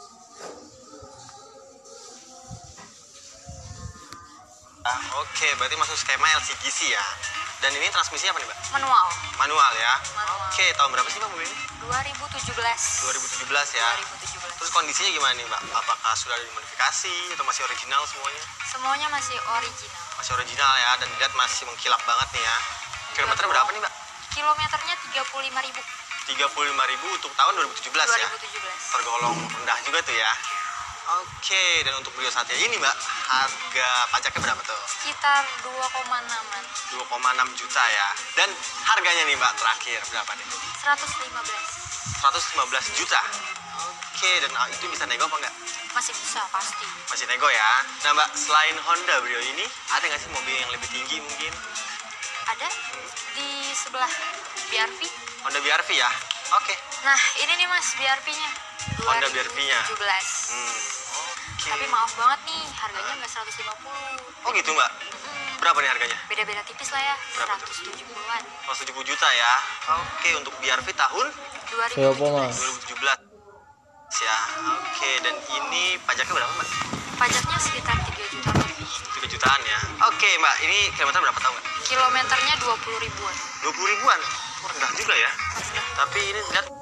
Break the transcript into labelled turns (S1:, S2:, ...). S1: kita.
S2: Ah, Oke, berarti masuk skema LCGC ya. Dan ini transmisinya apa nih, Mbak?
S1: Manual
S2: Manual ya.
S1: Manual.
S2: Oke, tahun berapa sih, Mbak, mobil ini?
S1: 2017.
S2: 2017 ya.
S1: 2017.
S2: Terus kondisinya gimana nih, Mbak? Apakah sudah ada dimodifikasi atau masih original semuanya?
S1: Semuanya masih original.
S2: Masih original ya dan dilihat masih mengkilap banget nih ya. Kilometer berapa nih, Mbak?
S1: Kilometernya 35.000
S2: 35.000 untuk tahun 2017 ya.
S1: 2017.
S2: Tergolong rendah juga tuh ya. Oke, dan untuk beliau saatnya ini, Mbak, harga pajaknya berapa tuh?
S1: Sekitar 2,6-an.
S2: 2,6 juta ya. Dan harganya nih, Mbak, terakhir berapa nih?
S1: 115.
S2: 115 juta. Oke, dan ah, itu bisa nego apa enggak?
S1: Masih bisa pasti.
S2: Masih nego ya. Nah, Mbak, selain Honda beliau ini, ada nggak sih mobil yang lebih tinggi mungkin?
S1: Ada di sebelah BRV.
S2: Honda BRV ya? Oke.
S1: Nah, ini nih Mas BRV-nya.
S2: Honda BRV-nya.
S1: 2017.
S2: Hmm. Oke.
S1: Tapi maaf banget nih, harganya nggak 150.
S2: Oh gitu, Mbak?
S1: Hmm,
S2: Berapa nih harganya?
S1: Beda-beda tipis lah ya,
S2: Berapa tuh?
S1: 170-an.
S2: 170 juta ya. Oke, untuk BRV tahun
S1: 2017.
S3: Kayak apa, Mas?
S2: 2017. Ya, oke. Dan ini pajaknya berapa, Mbak?
S1: Pajaknya sekitar 3 juta lebih.
S2: 3 jutaan ya. Oke, Mbak. Ini kilometer berapa tahun, Mbak?
S1: Kilometernya 20 ribuan.
S2: 20 ribuan. Wah, Rendah juga ya.
S1: Rendah.
S2: Tapi ini lihat